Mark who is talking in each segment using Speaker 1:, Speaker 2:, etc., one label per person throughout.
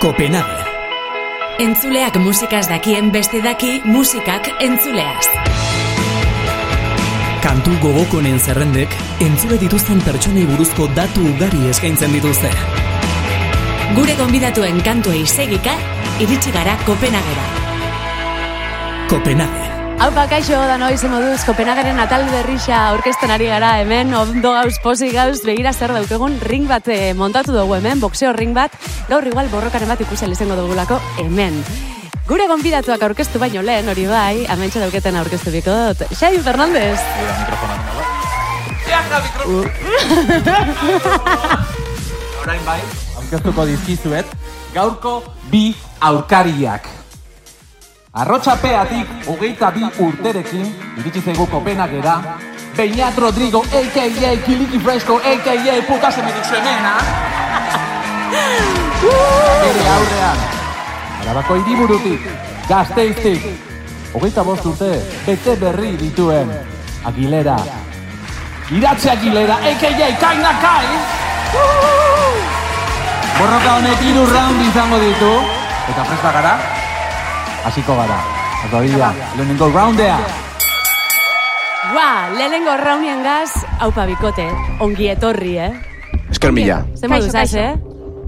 Speaker 1: Copenhague.
Speaker 2: Entzuleak musikaz dakien beste daki musikak entzuleaz.
Speaker 1: Kantu gogokonen zerrendek entzule dituzten pertsonei buruzko datu ugari eskaintzen dituzte.
Speaker 2: Gure gonbidatuen kantuei segika, iritsi gara Kopenhagera.
Speaker 1: Copenhague.
Speaker 3: Haupa, ba, kaixo, da noiz moduz, Kopenhagaren atal berrixa orkesten ari gara hemen, ondo gauz, posi gauz, begira zer daukegun, ring bat eh, montatu dugu hemen, boxeo ring bat, gaur igual borrokaren bat ikusen izango dugulako hemen. Gure gonbidatuak aurkeztu baino lehen, hori bai, amentsa dauketen aurkeztu biko dut. Xai Fernandez!
Speaker 4: Orain bai, aurkeztuko dizkizuet, ¿eh? gaurko bi aurkariak. Arrotxapeatik hogeita bi urterekin, iritsi zaigu Kopenhagera, Beñat Rodrigo, a.k.a. Kiliki Fresco, a.k.a. Pukasemedik semena. Ere aurrean, Arabako hiriburutik, gazteiztik, hogeita bost urte, bete berri dituen, Aguilera. Iratxe Aguilera, a.k.a. Kaina Kai! Borroka honek hiru round izango ditu. Eta presta gara, hasiko gara. Eta hori da, lehenengo roundea.
Speaker 3: Ua, lehenengo raunian gaz, haupa bikote, ongi etorri, eh?
Speaker 5: Esker mila.
Speaker 3: Zer moduz, az, eh?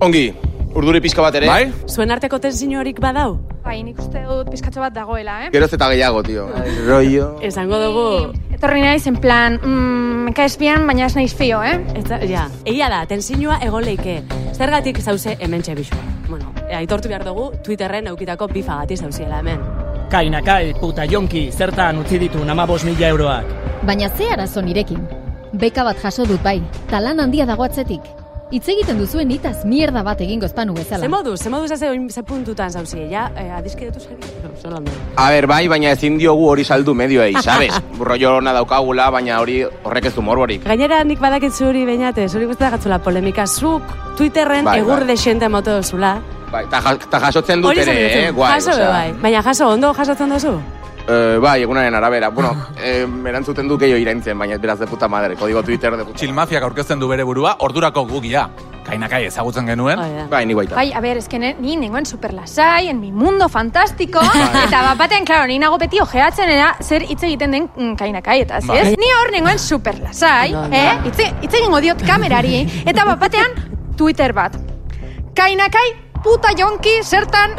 Speaker 5: Ongi, urduri pizka bat ere.
Speaker 6: Bai?
Speaker 3: Zuen arteko tensiorik badau?
Speaker 7: Bai, nik uste dut pizkatxo bat dagoela, eh?
Speaker 5: Geroz eta gehiago, tio. Rollo.
Speaker 3: Esango dugu...
Speaker 7: Ni Etorri naiz, en plan, mm, me caes bien, baina ez naiz fio, eh?
Speaker 3: Ez da, ja, egia da, tensioa egoleike. Zergatik zauze hemen txebixu. Bueno, eh, aitortu behar dugu, Twitterren eukitako bifagati zauziela hemen.
Speaker 8: Kainakai, puta jonki, zertan utzi ditu nama mila euroak.
Speaker 9: Baina ze arazo nirekin? Beka bat jaso dut bai, talan handia dago atzetik. Hitz egiten duzuen hitaz mierda bat egingo espanu bezala.
Speaker 3: Ze modu, ze modu zaze oin ze puntutan zauzi, ja, eh, adizkidetu zari? No, zelan da.
Speaker 5: A ber, bai, baina ezin diogu hori saldu medioei, sabes? Rollo ona daukagula, baina hori horrek ez du morborik.
Speaker 3: Gainera nik badakit zuri bainate, zuri guztia gatzula polemika, zuk Twitterren
Speaker 5: Bai,
Speaker 3: egur
Speaker 5: bai.
Speaker 3: desiente emote duzula.
Speaker 5: Bai, ta, ja- ta jasotzen dut
Speaker 3: Hori
Speaker 5: ere,
Speaker 3: zen
Speaker 5: eh?
Speaker 3: duzu,
Speaker 5: Guai,
Speaker 3: jaso be
Speaker 5: osea.
Speaker 3: bai. Baina jaso, ondo jasotzen duzu?
Speaker 5: Eh, bai, egunaren arabera. Bueno, eh, erantzuten du gehiago iraintzen, baina beraz de puta madre. Kodigo Twitter de puta.
Speaker 6: Txilmafiak aurkezten du bere burua, ordurako gugia. Kainakai ezagutzen genuen.
Speaker 3: Hori da.
Speaker 5: Bai, ni baita.
Speaker 7: Bai, a ber, es que ne- ni nengoen superlasai, en mi mundo fantastiko, eta bat batean, claro, ni nago beti ojeatzen era zer hitz egiten den mm, kainakai, eta
Speaker 6: Bai.
Speaker 7: ez? Ni hor nengoen superlasai,
Speaker 3: Ondo, ondo.
Speaker 7: eh? Hitz- Hitz egingo diot kamerari, eta bat batean, Twitter bat. Kainakai puta jonki zertan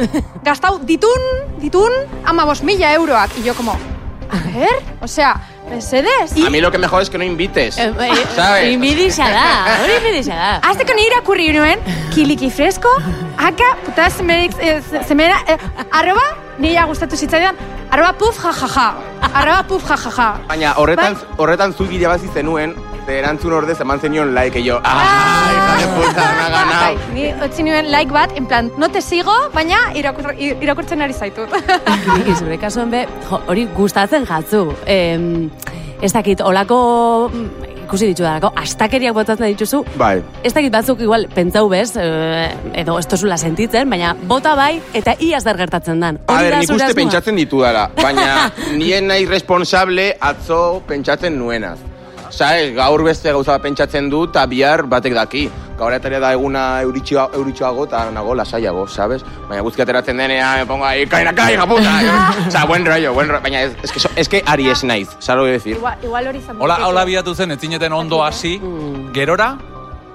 Speaker 7: gastau ditun, ditun, ama mila euroak. Y yo como, a ver, o sea, mesedez.
Speaker 5: A mí lo que mejor es que no invites.
Speaker 3: Eh, eh,
Speaker 5: ¿Sabes?
Speaker 3: Inbidisa da, hori inbidisa da.
Speaker 7: Azteko nire irakurri nuen, kiliki fresko, haka, puta zemerik, eh, ze- zemera, eh, arroba, nire gustatu zitzaidan, arroba puf jajaja, arroba puf jajaja.
Speaker 5: Baina horretan, horretan zu irabazi zenuen, ze erantzun ordez eman zenion like, y yo, ah, hija de puta, me ha ganado.
Speaker 7: Bai, ni utzi nuen like bat, en plan, no te sigo, baina irakur, irakurtzen ari zaitut.
Speaker 3: Nik zure kasuan be, jo, hori gustatzen jatzu. Em, ez dakit, olako mm, ikusi ditu darako, astakeriak botatzen dituzu,
Speaker 5: Bai.
Speaker 3: ez dakit batzuk igual pentsau bez, eh, edo ez tozula sentitzen, baina bota bai eta iaz der gertatzen dan.
Speaker 5: A
Speaker 3: Hori
Speaker 5: ber,
Speaker 3: da
Speaker 5: nik
Speaker 3: zure
Speaker 5: uste
Speaker 3: asmoa?
Speaker 5: pentsatzen ditudala, baina nien nahi responsable atzo pentsatzen nuenaz. Saez, gaur beste gauza bat pentsatzen du, eta bihar batek daki. Gaur eta da eguna euritxoa- euritxoago eta nago lasaiago, sabes? Baina guzki ateratzen denean, me pongo ahí, kaina, kaina, puta! Osa, buen rollo, buen rollo. Baina ez, es que, so- es que ari es naiz, salo decir.
Speaker 7: igual, igual hori izan
Speaker 6: Hola,
Speaker 7: daiteke.
Speaker 6: hola biatu zen, etzineten ondo hasi, gerora,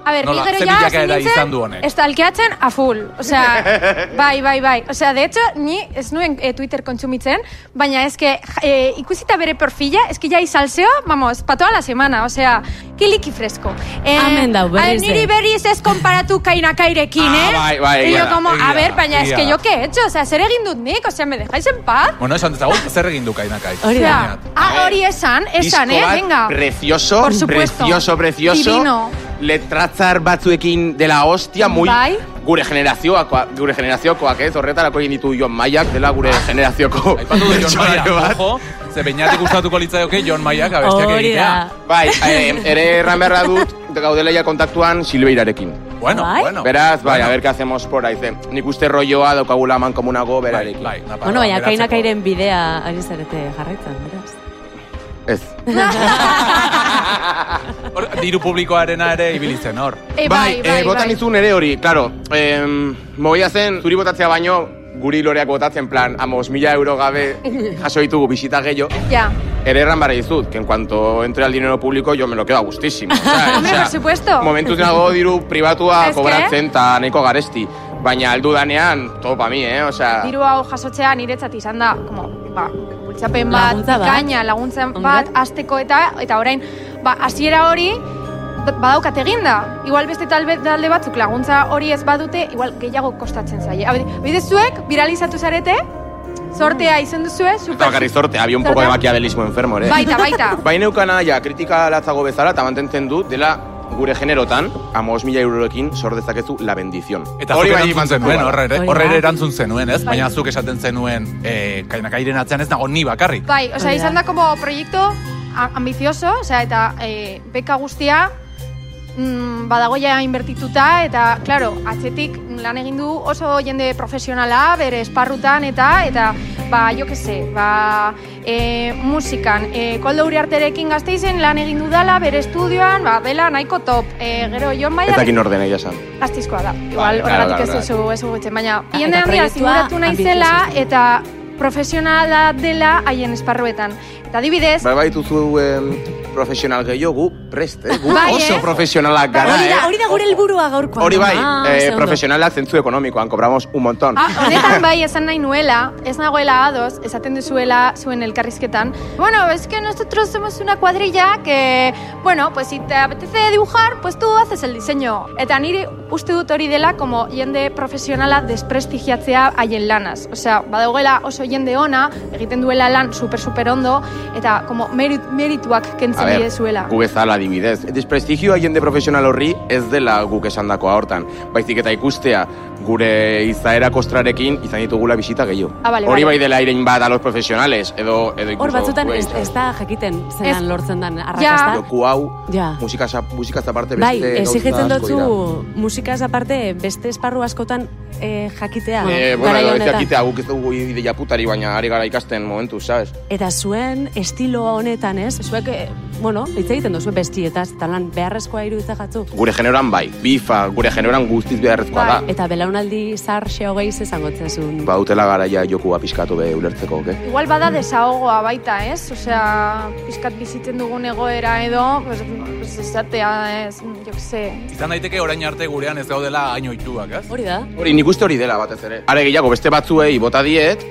Speaker 7: A ber,
Speaker 6: Nola,
Speaker 7: ni gero
Speaker 6: ze
Speaker 7: ja hasi
Speaker 6: bilakaera
Speaker 7: nintzen,
Speaker 6: izan du honek?
Speaker 7: estalkeatzen a full. Osea, bai, bai, bai. Osea, de hecho, ni ez nuen eh, Twitter kontsumitzen, baina eske eh, ikusita bere perfila, eske ja izalzeo, vamos, pa toda la semana, osea, kiliki fresko. Eh,
Speaker 3: Amen dau, berriz
Speaker 7: a ber, Niri
Speaker 3: ere.
Speaker 7: berriz ez konparatu kainakairekin,
Speaker 5: Ah,
Speaker 7: eh?
Speaker 5: bai, bai,
Speaker 7: Y
Speaker 5: egia
Speaker 7: yo
Speaker 5: da,
Speaker 7: como,
Speaker 6: egia
Speaker 7: a ver,
Speaker 6: da,
Speaker 7: baina eske
Speaker 6: egia
Speaker 7: yo
Speaker 6: da.
Speaker 7: que he hecho, osea, zer egin dut nik, osea, me dejáis en paz?
Speaker 6: bueno, esan dezagun, zer egin du kainakai?
Speaker 3: Hori da.
Speaker 7: Osea, ah, hori esan, esan,
Speaker 5: Disko
Speaker 7: eh,
Speaker 5: bat
Speaker 7: venga.
Speaker 5: Precioso,
Speaker 7: Por supuesto.
Speaker 5: precioso, precioso.
Speaker 7: Divino.
Speaker 5: Letratzar batzuekin dela hostia, muy...
Speaker 7: Bai.
Speaker 5: Gure generazioakoak, gure generaziokoak, ez? Horretarako egin ditu Jon Maiak dela gure
Speaker 7: Ah.
Speaker 5: generazioko.
Speaker 6: Aipatu du Jon
Speaker 5: pertsonaio
Speaker 6: Maia,
Speaker 5: bat.
Speaker 6: ojo, ze beinatik gustatuko litzaioke Jon Maiak abestiak
Speaker 3: Hori
Speaker 6: egitea.
Speaker 3: da.
Speaker 5: Bai, eh, ere erran beharra dut, gaudeleia kontaktuan Silveirarekin.
Speaker 6: Bueno,
Speaker 3: Bai?
Speaker 6: bueno.
Speaker 5: Beraz, bai,
Speaker 6: Bueno,
Speaker 5: a ver, qué hacemos por ahí. ze. Nik uste rolloa daukagula mankomunago berarekin.
Speaker 6: Bai, bai, Nafarroa,
Speaker 3: Bueno, baina
Speaker 6: beratzeko.
Speaker 3: kainakairen bidea ari zarete jarraitzen, beraz.
Speaker 5: Ez.
Speaker 6: Hor, diru publikoarena ere ibilitzen hor.
Speaker 7: E, bai,
Speaker 5: eh,
Speaker 7: bai,
Speaker 5: bota
Speaker 7: bai.
Speaker 5: nizun ere hori, claro. Em, moia zen, zuri botatzea baino, guri loreak botatzen plan, amos, mila euro gabe jaso ditugu bisita gehiago.
Speaker 7: Ja.
Speaker 5: Ere erran barra dizut, que en cuanto entre al dinero público yo me lo quedo a gustísimo.
Speaker 7: Hombre, por supuesto.
Speaker 5: Momentuz nago diru pribatua
Speaker 7: Ez que?
Speaker 5: kobratzen eta nahiko garesti. Baina aldu danean, todo pa mi, eh? Osea,
Speaker 7: Diru hau jasotzea niretzat izan da, como, ba, bultzapen bat,
Speaker 3: Laguntza bat.
Speaker 7: gaina, laguntzen
Speaker 3: Hombre.
Speaker 7: bat, azteko eta, eta orain, ba, hasiera hori, ba- badaukat eginda. Igual beste talde, talde batzuk laguntza hori ez badute, igual gehiago kostatzen zaie. Habe- Bidez zuek, viralizatu zarete, sortea izan duzue,
Speaker 5: Eta
Speaker 7: super...
Speaker 5: bakarrik zorte, había un poco de maquiavelismo enfermo, ere.
Speaker 7: Baita, baita.
Speaker 5: Bai neukana, ja, kritika latzago bezala, eta mantentzen du, dela gure generotan, amos mila eurorekin sor dezakezu la bendición.
Speaker 6: Eta hori bai
Speaker 5: eman
Speaker 6: erantzun zenuen, horre ere,
Speaker 3: Hori da.
Speaker 6: horre ere erantzun zenuen, ez?
Speaker 7: Bai.
Speaker 6: Baina zuk esaten zenuen, eh, kainakairen atzean ez nago ni bakarrik.
Speaker 7: Bai, osea,
Speaker 3: Hori da.
Speaker 7: izan da como proiektu a- ambicioso, osea, eta e, beka guztia mm, badagoia invertituta, eta, claro, atzetik lan egin du oso jende profesionala, bere esparrutan, eta, eta, ba, jo que se, ba, e, musikan, e, koldo uriarterekin gazteizen lan egin dudala, bere estudioan, ba, dela nahiko top, e, gero joan
Speaker 5: Ez
Speaker 7: baina,
Speaker 5: dakin ordena, egia san.
Speaker 7: Aztizkoa da. Igual
Speaker 5: Bai,
Speaker 7: horregatik
Speaker 5: claro,
Speaker 7: ez
Speaker 5: claro,
Speaker 7: duzu ez gutzen, baina
Speaker 3: Ah, eta
Speaker 7: jende handia
Speaker 3: proiektua
Speaker 7: zimuratu nahi
Speaker 3: ambizioso
Speaker 7: zela
Speaker 3: zen.
Speaker 7: eta profesionala dela haien esparruetan. Eta adibidez,
Speaker 5: Bai, bai, duzu em, profesional gehiago, gu prest, eh? Gu
Speaker 7: Bai,
Speaker 5: oso
Speaker 7: eh?
Speaker 5: profesionalak gara,
Speaker 3: Hori da,
Speaker 5: eh?
Speaker 3: hori da gure helburua gaurkoan.
Speaker 5: Hori bai,
Speaker 3: Ah,
Speaker 5: eh,
Speaker 3: ze ondo.
Speaker 5: profesionalak zentzu ekonomikoan, kobramos un montón.
Speaker 7: ah, honetan bai esan nahi nuela, ez nagoela ados, esaten duzuela zuen elkarrizketan. Bueno, es que nosotros somos una cuadrilla que, bueno, pues si te apetece dibujar, pues tú haces el diseño. Eta niri uste dut hori dela como jende profesionala desprestigiatzea haien lanaz. Osea, badagoela oso jende ona, egiten duela lan super super ondo, eta como merit, merituak
Speaker 5: A
Speaker 7: kentzen
Speaker 5: ber,
Speaker 7: bidezuela.
Speaker 5: gu bezala adibidez. Desprestigioa jende profesional horri ez dela guk esandakoa hortan. Baizik eta ikustea gure izaera kostrarekin izan ditugula bisita gehiago.
Speaker 7: Ah, bale,
Speaker 5: Hori bai
Speaker 7: bale.
Speaker 5: dela irein bat a los profesionales, edo, edo
Speaker 3: Hor
Speaker 5: incluso
Speaker 3: batzutan
Speaker 5: guen-
Speaker 3: ez, ez da jakiten zelan
Speaker 7: Ez.
Speaker 3: lortzen den arrakasta.
Speaker 5: Joku hau,
Speaker 3: Ja.
Speaker 5: musika, musika aparte
Speaker 3: Bai,
Speaker 5: beste gauza
Speaker 3: exigitzen
Speaker 5: asko
Speaker 3: dotzu
Speaker 5: dira.
Speaker 3: musikaz aparte beste esparru askotan eh, jakitea.
Speaker 5: Eh, bueno,
Speaker 3: garai
Speaker 5: edo ez
Speaker 3: honetan.
Speaker 5: jakitea guk ez dugu ideia putari, baina ari gara ikasten momentu, sabes?
Speaker 3: Eta zuen estilo honetan, ez? Zuek, eh, bueno, hitz egiten duzu bestietaz, eta lan beharrezkoa iruditza jatzu.
Speaker 5: Gure generoan bai, bifa, gure generoan guztiz beharrezkoa
Speaker 7: Bai.
Speaker 5: da.
Speaker 3: Eta belaunaldi zar xeo gehiz esango zezun.
Speaker 5: Ba, utela garaia jokua pixkatu be ulertzeko, oke?
Speaker 7: Igual bada desahogoa baita, ez? Osea, pizkat bizitzen dugun egoera edo, pues, pues esatea, ez, jo que se,
Speaker 6: Izan daiteke orain arte gurean ez gaudela hain ohituak, ez?
Speaker 3: Hori da?
Speaker 5: Hori, nik uste hori dela batez ere. Are gehiago, beste batzuei bota diet,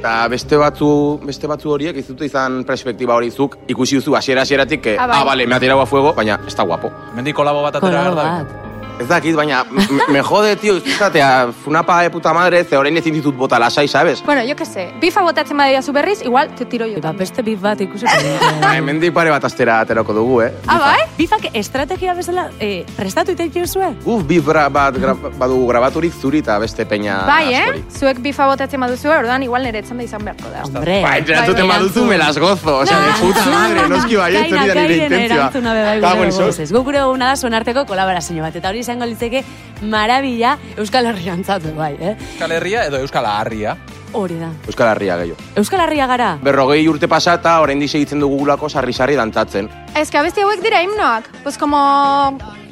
Speaker 5: eta beste batzu, beste batzu horiek ez dute izan perspektiba hori zuk ikusi duzu hasiera hasieratik que,
Speaker 7: Ah,
Speaker 5: ah,
Speaker 7: bai.
Speaker 5: bale, me ha tirado a fuego, baina ez da guapo.
Speaker 6: Mendi kolabo bat atera
Speaker 3: Kolabo
Speaker 6: behar da.
Speaker 3: bat.
Speaker 5: Ez dakit, baina me- me jode, tío, izatea, funapa de puta madre, ze orain ezin ditut bota lasai, sabes?
Speaker 7: Bueno, jo que se, bifa botatzen badia zu berriz, igual te tiro jo.
Speaker 3: Ba, beste bif bat ikusiko.
Speaker 5: Ba, Hemendik pare bat astera aterako dugu, eh?
Speaker 7: Ah, bai?
Speaker 3: Bifak estrategia bezala eh, prestatu iteik eh? zuen?
Speaker 5: Guf bifra bat gra, badugu grabaturik zuri eta beste
Speaker 3: Ah,
Speaker 5: peña
Speaker 7: Bai, eh?
Speaker 5: askori.
Speaker 7: Zuek bifa botatzen baduzu, orduan igual niretzan da izan beharko da.
Speaker 3: Hombre.
Speaker 5: Ba, entzuten
Speaker 3: Bai,
Speaker 5: baduzu, me las gozo. O sea, de puta madre, noski bai, ez hori da nire intentzioa. Ba,
Speaker 3: erantzuna be bai
Speaker 5: Cago
Speaker 3: gure
Speaker 5: en sos.
Speaker 3: gogozez. Guk gure duguna da zuen arteko kolaborazio bat, eta hori izango litzeke marabila Euskal Herrian zatu, bai, eh?
Speaker 6: Euskal Herria edo Euskal Harria.
Speaker 3: Hori da.
Speaker 5: Euskal Herria gehiago.
Speaker 3: Euskal Herria gara?
Speaker 5: Berrogei urte pasata, oraindik segitzen dugu gulako sarri-sarri dantatzen.
Speaker 7: Ez que abesti hauek dira himnoak, pues como...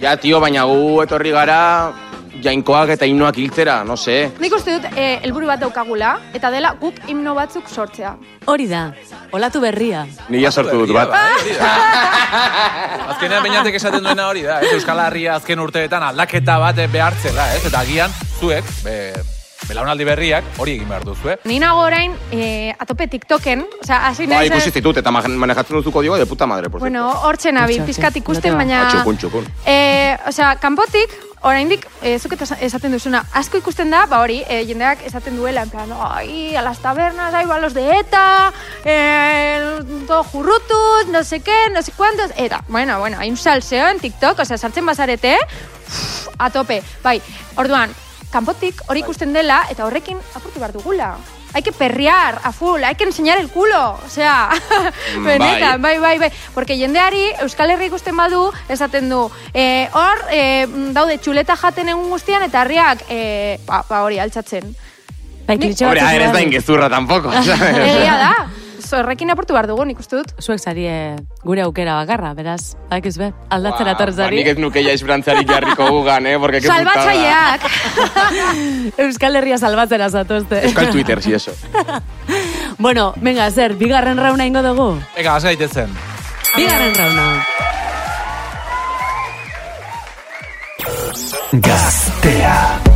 Speaker 5: Ja, tio, baina gu etorri gara jainkoak eta himnoak hiltzera, no se.
Speaker 7: Nik uste dut, eh, helburu bat daukagula, eta dela guk himno batzuk sortzea.
Speaker 3: Hori da. Olatu berria.
Speaker 5: Ni ja sortu dut bat.
Speaker 6: Bai, hori da. bai. Azkenean beinatek esaten duena hori da, ez? Euskal Herria azken urteetan aldaketa bat behartzela, ez? Eta agian zuek, be, belaunaldi berriak hori egin behar duzu, eh?
Speaker 7: Ni nago orain, eh, atope TikToken, osea, hasi
Speaker 5: Ba,
Speaker 7: naiz...
Speaker 5: ikusi zitut, eta ma- manejatzen duzuko diogu de puta madre, por
Speaker 7: eh. Bueno, hortzen nabil,
Speaker 3: Itxaron,
Speaker 7: pizkat ikusten,
Speaker 3: notea.
Speaker 7: baina...
Speaker 5: Ah, txukun, txukun.
Speaker 7: Eh, osea, kanpotik, oraindik, eh, zuk eta esaten duzuna, asko ikusten da, ba hori, eh, jendeak esaten duela, en plan, ai, a las tabernas, ai, balos de ETA, eh, todo jurrutuz, no sé qué, no sé cuántos, eta, bueno, bueno, hay un salseo en TikTok, osea, sartzen bazarete, uff, a tope, bai, orduan, kanpotik
Speaker 5: Bai.
Speaker 7: hori ikusten dela, eta horrekin apurtu behar dugula. Hay que perrear a full, hay que enseñar el culo, o sea,
Speaker 5: Mm,
Speaker 7: benetan,
Speaker 5: bai.
Speaker 7: Bai, bai, bai, porque jendeari Euskal Herri ikusten badu, esaten du, eh, hor eh, daude txuleta jaten egun guztian, eta herriak, eh, ba, ba hori, altxatzen.
Speaker 3: Bai,
Speaker 7: Ni-
Speaker 3: klitxo bat
Speaker 5: Hombre, a
Speaker 3: ez
Speaker 5: ver, ez da
Speaker 3: dugu.
Speaker 7: Eh,
Speaker 5: ingezurra tampoco, ¿sabes?
Speaker 7: Egia da, horrekin apurtu behar dugu, nik uste dut.
Speaker 3: Zuek zarie gure aukera bakarra, beraz, bakiz be, aldatzera
Speaker 5: Ba,
Speaker 3: etorri
Speaker 5: ba,
Speaker 3: zari.
Speaker 5: Nik ez nuke jaiz brantzarik jarriko gugan, eh? Porque que
Speaker 7: Salbatzaileak!
Speaker 3: Euskal Herria salbatzera zatozte.
Speaker 5: Euskal Twitter, si eso.
Speaker 3: bueno, venga, zer, bigarren rauna ingo dugu?
Speaker 6: Ega, hasi gaitezen.
Speaker 3: Bigarren rauna.
Speaker 1: Gaztea.